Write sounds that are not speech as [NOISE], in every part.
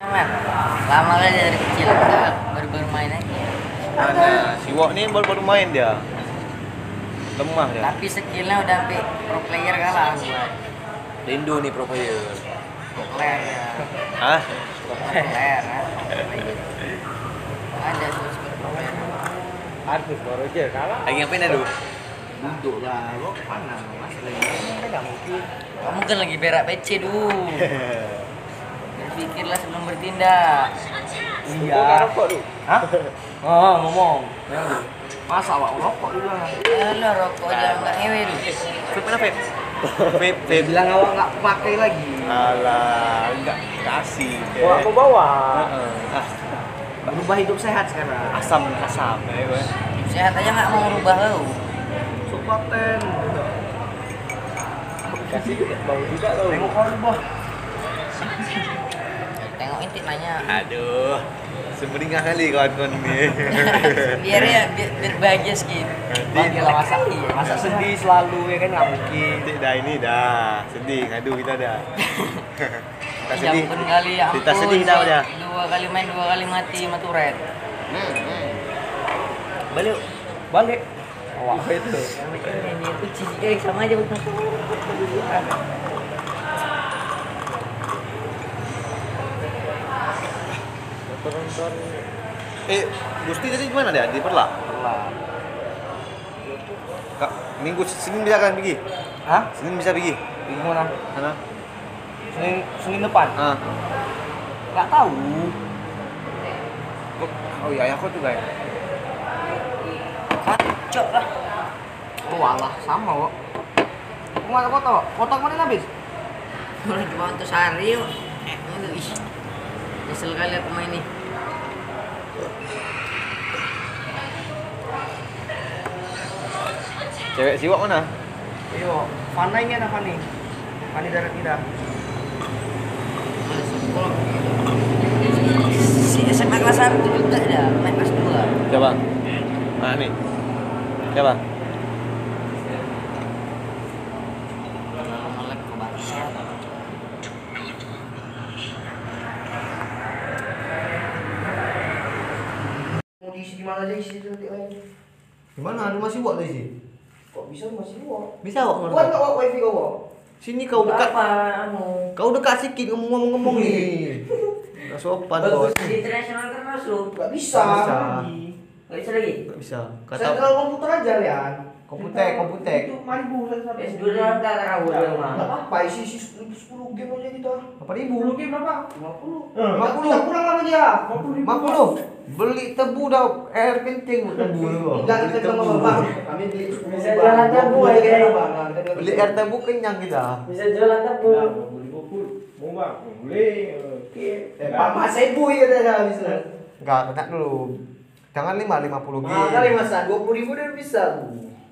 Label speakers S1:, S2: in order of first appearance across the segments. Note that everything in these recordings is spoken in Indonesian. S1: lama lama kali dari kecil kita baru bermain aja
S2: Mana? Si Wok ni baru-baru main dia. Lemah dia.
S1: tapi skillnya udah sampai pro player kan kalah gua
S3: Lindo nih pro player.
S1: pro player ya
S2: Hah?
S1: pro player ya. ada tuh skill pro player
S4: Artis baru aja kalah.
S3: Lagi ngapain aduh?
S4: Duduk lah, gua ke mana? Mas lagi enggak mungkin.
S1: kamu kan lagi berak PC dulu berpikirlah sebelum bertindak
S4: Iya. Gua kan rokok tuh.
S2: Hah?
S4: Oh, ngomong. Masa awak rokok dulu lah.
S1: Alah Ya rokok jangan nggak ngewe dulu
S2: Vape mana [LAUGHS] vape? Vape,
S4: Dia
S2: vape.
S4: bilang awak enggak pakai lagi.
S2: Alah, enggak kasih. Dek.
S4: Wah, aku bawa.
S2: Heeh. Ah,
S4: Berubah hidup sehat sekarang.
S2: asam, asam. Eh, weh.
S1: sehat aja nggak mau rubah lo
S4: Supaten. Kasih bau juga tau. Tengok korban.
S1: tengok intik nanya
S2: [LAUGHS] Aduh. Semeringah kali kawan-kawan ni. [LAUGHS]
S1: biar ya biar, biar bahagia sedikit
S4: Bagi lah masa,
S1: Iya,
S4: masa sedih selalu ya kan nggak mungkin.
S2: Cantik dah ini dah. Sedih ngadu kita [LAUGHS] dah. Kita
S1: Ya
S2: sedih.
S1: ampun kali ya ampun
S2: Kita sedih dah udah.
S1: dua kali main dua kali mati maturet
S4: Balik, balik. Awak itu.
S1: itu cici eh sama aja betul
S4: Tonton
S2: Eh, Gusti tadi gimana dia? Di Perla?
S4: lah.
S2: Kak, minggu Senin bisa kan pergi?
S4: Hah?
S2: Senin bisa pergi?
S4: Di mana?
S2: Sana?
S4: Senin Senin depan.
S2: Ah.
S4: Nggak tahu. Oh iya, aku
S2: kan?
S4: juga ya.
S1: cok lah
S4: Oh alah, sama kok. Kamu ada foto? Foto kemarin habis?
S1: kalau cuma untuk sehari yuk eh itu ih nyesel kali aku main nih
S2: Cewek siwak mana?
S4: Iya. Fana ini ada Fani. Fani darah tidak.
S1: Males, kalau- si SMA kelas satu juga dah main kelas dua
S2: Siapa? Ah, ni. Siapa?
S1: malah kebangsaan
S4: Mau diisi di mana aja isi itu nanti lagi.
S2: Gimana? Rumah siwak tu isi?
S4: Kok bisa masih wok?
S2: Bisa awak
S4: Kuat nggak wok wifi kau wok?
S2: Sini kau dekat.
S1: apa anu
S2: Kau dekat sikit ngomong-ngomong [LAUGHS] ni. Tak sopan kau.
S1: bagus di internasional kan masuk
S4: Nggak bisa.
S2: Nggak bisa.
S4: lagi.
S1: nggak bisa lagi
S2: Tak bisa.
S4: Sentral
S2: Kata
S4: komputer aja Rian.
S2: Komputer,
S4: Sentral-
S2: komputer.
S4: Itu maribu sentral.
S1: S2 dalam tata rawat
S4: Nggak
S1: rumah
S4: apa-apa isi isi sepuluh sepuluh game aja kita.
S2: apa ribu?
S4: game berapa? Lima puluh.
S2: Eh,
S4: Lima puluh. Kurang lama dia. Lima puluh.
S2: Mak puluh. Beli tebu dah. Air penting buat tebu tu.
S4: Enggak kita
S2: Beli
S4: bilang
S2: tebu.
S4: sama bang. Kami beli sepuluh.
S5: Bisa jalan tebu, ya, guys.
S2: Beli air tebu kenyang kita.
S5: Bisa jualan tebu.
S4: Eh, Pak Mas Ebu ya dah bisa.
S2: Enggak, tak dulu. Jangan lima lima puluh gig.
S4: Mahal kali mas, Ah, dua puluh ribu dia bisa.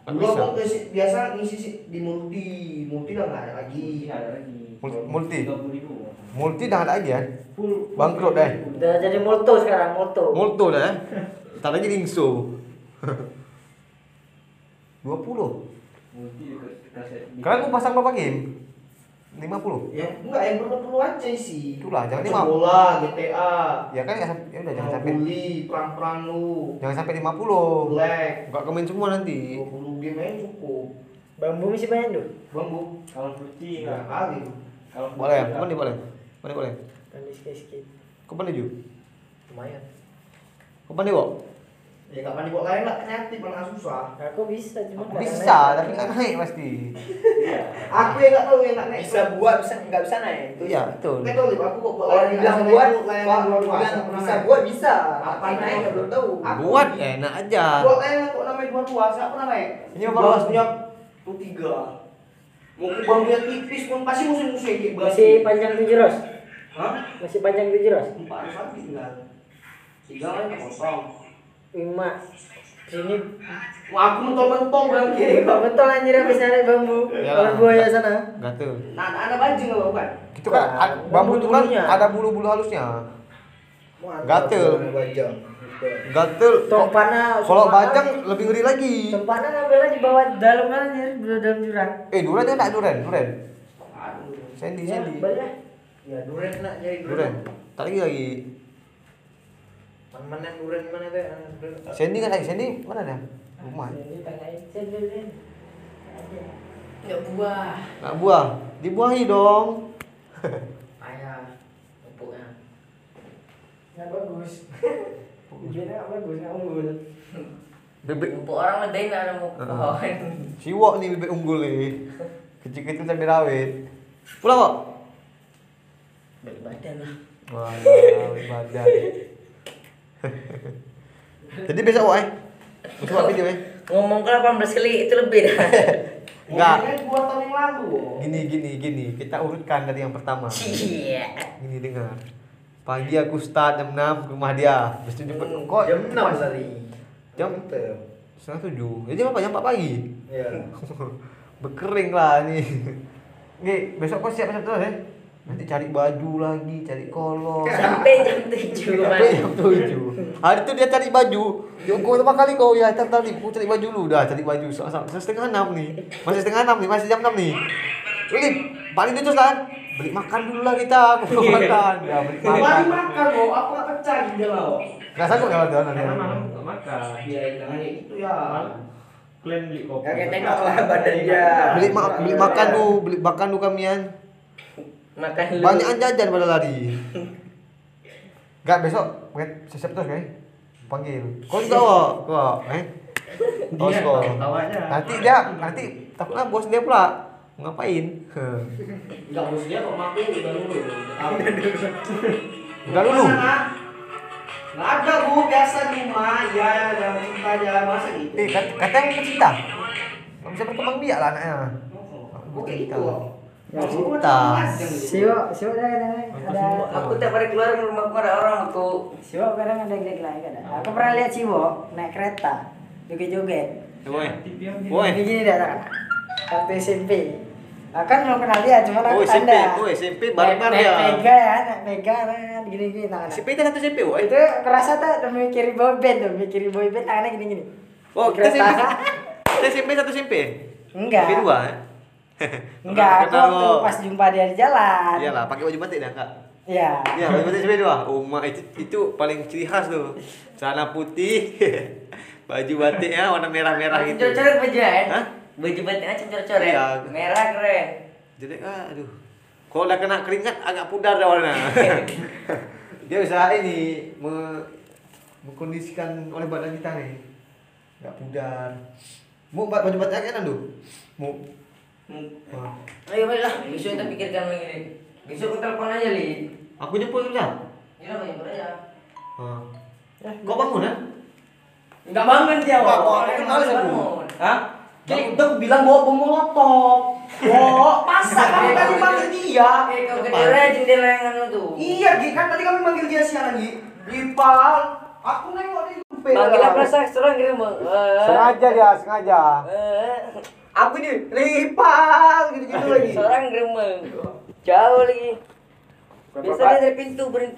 S2: Nggak
S4: Dulu
S2: bisa.
S4: aku ngisi- biasa ngisi si- di multi, multi udah nggak ada lagi.
S2: Mul- multi. Multi dah ada lagi kan? Bangkrut dah. eh.
S5: Udah jadi multo sekarang, multo.
S2: Multo dah eh. Tak lagi [LAUGHS] ringso. 20. Kalau aku pasang berapa game? 50.
S4: Ya enggak yang perlu perlu aja sih.
S2: Itulah, jangan
S4: Macam
S2: lima.
S4: Bola, GTA,
S2: Ya kan enggak sampai ya udah jangan sampai
S4: bully, perang-perang lu,
S2: jangan sampai 50.
S4: black,
S2: Enggak komen semua nanti.
S4: dua puluh game aja cukup.
S5: Bambu masih banyak tuh.
S4: Bang bu,
S5: Kalau putih
S4: tiga kali.
S2: Boleh, kau boleh, boleh. Boleh, boleh.
S5: Tadi sikit-sikit.
S2: Kau pandai ju.
S4: Lumayan.
S2: Kau pandai kok?
S4: Ya nggak pandai buat lain lah, kreatif malah susah.
S5: Aku bisa, cuma
S2: Aku bisa, tapi kan enggak naik pasti.
S6: Iya.
S4: Aku yang nggak tahu yang nggak naik.
S6: bisa buat bisa nggak bisa naik
S2: Itu ya, betul.
S4: Nggak tahu Lip, aku kok buat
S6: kalau
S4: layanan-
S6: dibilang
S4: layanan-
S6: buat
S4: layanan luar
S6: Pak,
S4: biasa
S6: bilang
S4: pernah
S6: bisa
S4: naik.
S6: buat bisa
S4: Apa
S6: apa
S4: naik?
S6: naik nggak belum tahu
S4: Aku-
S2: Buat enak aja.
S4: Buat lain kok namanya buat luas, nggak pernah naik.
S2: Ini apa luas?
S4: punya tuh tiga. Mau kubang dia tipis pun pasti musim-musim kayak
S5: Masih panjang tujuh ros.
S4: Hah?
S5: Masih panjang tujuh ros.
S4: Empat ratus lagi tinggal. Tiga lagi kosong.
S5: Lima. Sini.
S4: Wah aku mentol-mentol bang kiri.
S5: Kok betul anjir habis nyari bambu.
S2: Ya.
S5: Kalau buaya sana.
S2: Gatel.
S4: Nah anak baju nggak bukan?
S2: Itu kan
S5: Nah,
S2: ad- bambu itu kan
S5: bulu-bulunya.
S2: ada bulu-bulu halusnya. Gatel.
S6: bajang
S2: Gatel. kok-
S5: Tompana.
S2: Kalau bajang lebih ngeri lagi.
S5: Tompana ngambilnya di bawah dalam kan anjir, di dalam jurang.
S2: Eh, duren dia tak duren, duren.
S4: Aduh.
S2: Sandy,
S5: Ya,
S2: Sandy.
S5: balik lah.
S6: ya durian nak nyari
S2: Duren. Tadi lagi
S4: Mana urin mana be?
S2: Sandy kan lagi Sandy mana dah? Rumah.
S1: Enggak buah.
S2: Nak buah. Dibuahi dong.
S4: Ayah
S1: ya.
S4: empuknya.
S5: Nggak bagus. Bibirnya nggak bagus, nggak unggul.
S2: Bebek
S1: Empuk orang ledain ada mau
S2: Ah.
S1: pohon.
S2: siwok nih bebek unggul nih. Kecil-kecil cabai rawit. Pulang kok.
S1: Balik badan lah.
S2: Wah, badan. [LAUGHS] Jadi besok kok eh. Besok apa dia eh?
S1: Ngomong ke 18 kali itu lebih
S2: [LAUGHS]
S1: dah.
S2: Nggak.
S4: Ini kan dua tahun yang lalu. oh.
S2: Gini gini gini, kita urutkan dari yang pertama.
S1: Iya.
S2: Gini dengar. Pagi aku start jam 6 ke rumah dia. Habis itu jemput kok
S4: Jam enam tadi.
S2: Jam? Setengah tujuh. Jadi apa jam 4 pagi? [LAUGHS]
S4: Ya.
S2: Berkering lah [LAUGHS] nih. Nih, besok kau siap siap terus ya. Nanti cari baju lagi, cari kolor.
S1: Sampai jam 7
S2: Sampai
S1: malam.
S2: jam tujuh. Hari itu dia cari baju. Yo, kau berapa kali kau ya? Tadi tadi aku cari baju lu dah, cari baju. So, so, so, setengah enam nih. Masih setengah enam nih, masih jam enam nih. Lip, paling itu terus kan. Beli makan dulu lah kita. Aku belum makan. Ya, beli
S4: Mari
S2: makan.
S4: makan kok, aku nggak pecah gitu loh.
S2: Gak sanggup kalau jalan
S6: Karena malam nggak makan.
S4: Biarin tangannya gitu ya.
S6: Malam klaim beli kopi.
S4: Kakek tengok lah badan dia.
S2: Beli, ma beli makan lu, beli makan lu kamian.
S1: Makan lu.
S2: Banyakan jajan pada lari. Gak besok, wait, siap terus guys. Panggil. Kau juga kok, kok, eh. Bos
S6: Dia
S2: kok.
S6: tawanya.
S2: Nanti dia, nanti takutlah bos dia pula. Mau Ngapain? Heh.
S4: Enggak bos dia kok mampu udah dulu. [LAUGHS]
S2: Udah dulu.
S4: Nggak ada bu, biasa di rumah. Ya, yang cinta aja masa gitu.
S2: Eh, kat- katanya mau cinta. Gak bisa berkembang biak lah anaknya.
S4: Kok kayak gitu? loh?
S2: Nggak
S4: Aku
S2: cinta.
S4: udah panjang gitu.
S5: Siwa, siwa ada ada ada.
S1: Aku tiap hari keluar dari rumahku ada orang tuh.
S5: Siwa kadang ada gede lain ada. Aku pernah lihat siwa naik kereta joget-joget.
S2: Woi.
S5: Woi. Gini dah kan. Waktu SMP. Nah, kan belum kenal
S2: Oh,
S5: dia, cuma aku tanda.
S2: SMP
S5: Naik Mega ya, naik Mega kan gini-gini tangan.
S2: itu satu SMP, woi.
S5: itu kerasa tuh udah mikirin boy band tuh mikirin boy band tangannya gini gini
S2: Oh, kita SMP.
S5: Kereta.
S2: Kita SMP satu SMP.
S5: enggak
S2: SMP dua. eh?
S5: enggak
S2: Orang
S5: aku
S2: kenal
S5: waktu
S2: lo.
S5: pas jumpa dia di jalan
S2: Iyalah, pakai baju batik dah, Kak.
S5: ya
S2: Iya, baju batik SMP dua. Oh, mak, itu itu paling ciri khas tuh. Celana putih. [LAUGHS] baju batiknya warna merah-merah gitu.
S1: Coret-coret baju kan?
S2: Hah?
S1: Baju batiknya coret-coret.
S2: Iya.
S1: Merah keren.
S2: Jelek ah, aduh. Kalau dah kena keringat agak pudar dah warna. [LAUGHS] Dia usaha ini me mengkondisikan oleh badan kita nih. Enggak pudar. Mu ba- baju batiknya kan tuh. Mu. Wah.
S1: Ayo balik lah. Besok kita pikirkan lagi nih. Besok kita telepon aja li.
S2: Aku jemput bisa.
S1: Iya lah, jemput aja.
S2: Ah. Kau bangun ah?
S4: Enggak bangun dia,
S2: Enggak,
S4: Wak.
S2: kok. Aku males aku.
S4: Hah? Dia udah aku bilang bawa bom molotov. Wah, [LAUGHS] masa kamu tadi panggil dia?
S1: Eh, kau jendela jendela yang anu tuh.
S4: Iya, Gi, kan tadi kami manggil dia siang lagi. Gipal, aku nengok di kuping.
S1: Panggil apa sih? Serang kirim Eh, bang.
S2: Iya, Sengaja dia, sengaja.
S1: Eh,
S4: Aku ini Gipal gitu-gitu lagi.
S1: Serang kirim Jauh lagi. Biasanya dari pintu berhenti.